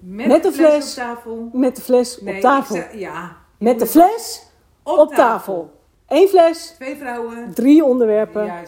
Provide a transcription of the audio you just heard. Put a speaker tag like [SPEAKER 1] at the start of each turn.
[SPEAKER 1] Met, de fles, op tafel.
[SPEAKER 2] Met de fles
[SPEAKER 1] Nee,
[SPEAKER 2] op
[SPEAKER 1] ik
[SPEAKER 2] tafel.
[SPEAKER 1] zei- ja.
[SPEAKER 2] Met de fles
[SPEAKER 1] Op,
[SPEAKER 2] op tafel. Eén fles,
[SPEAKER 1] Twee vrouwen.
[SPEAKER 2] drie onderwerpen.
[SPEAKER 1] Juist.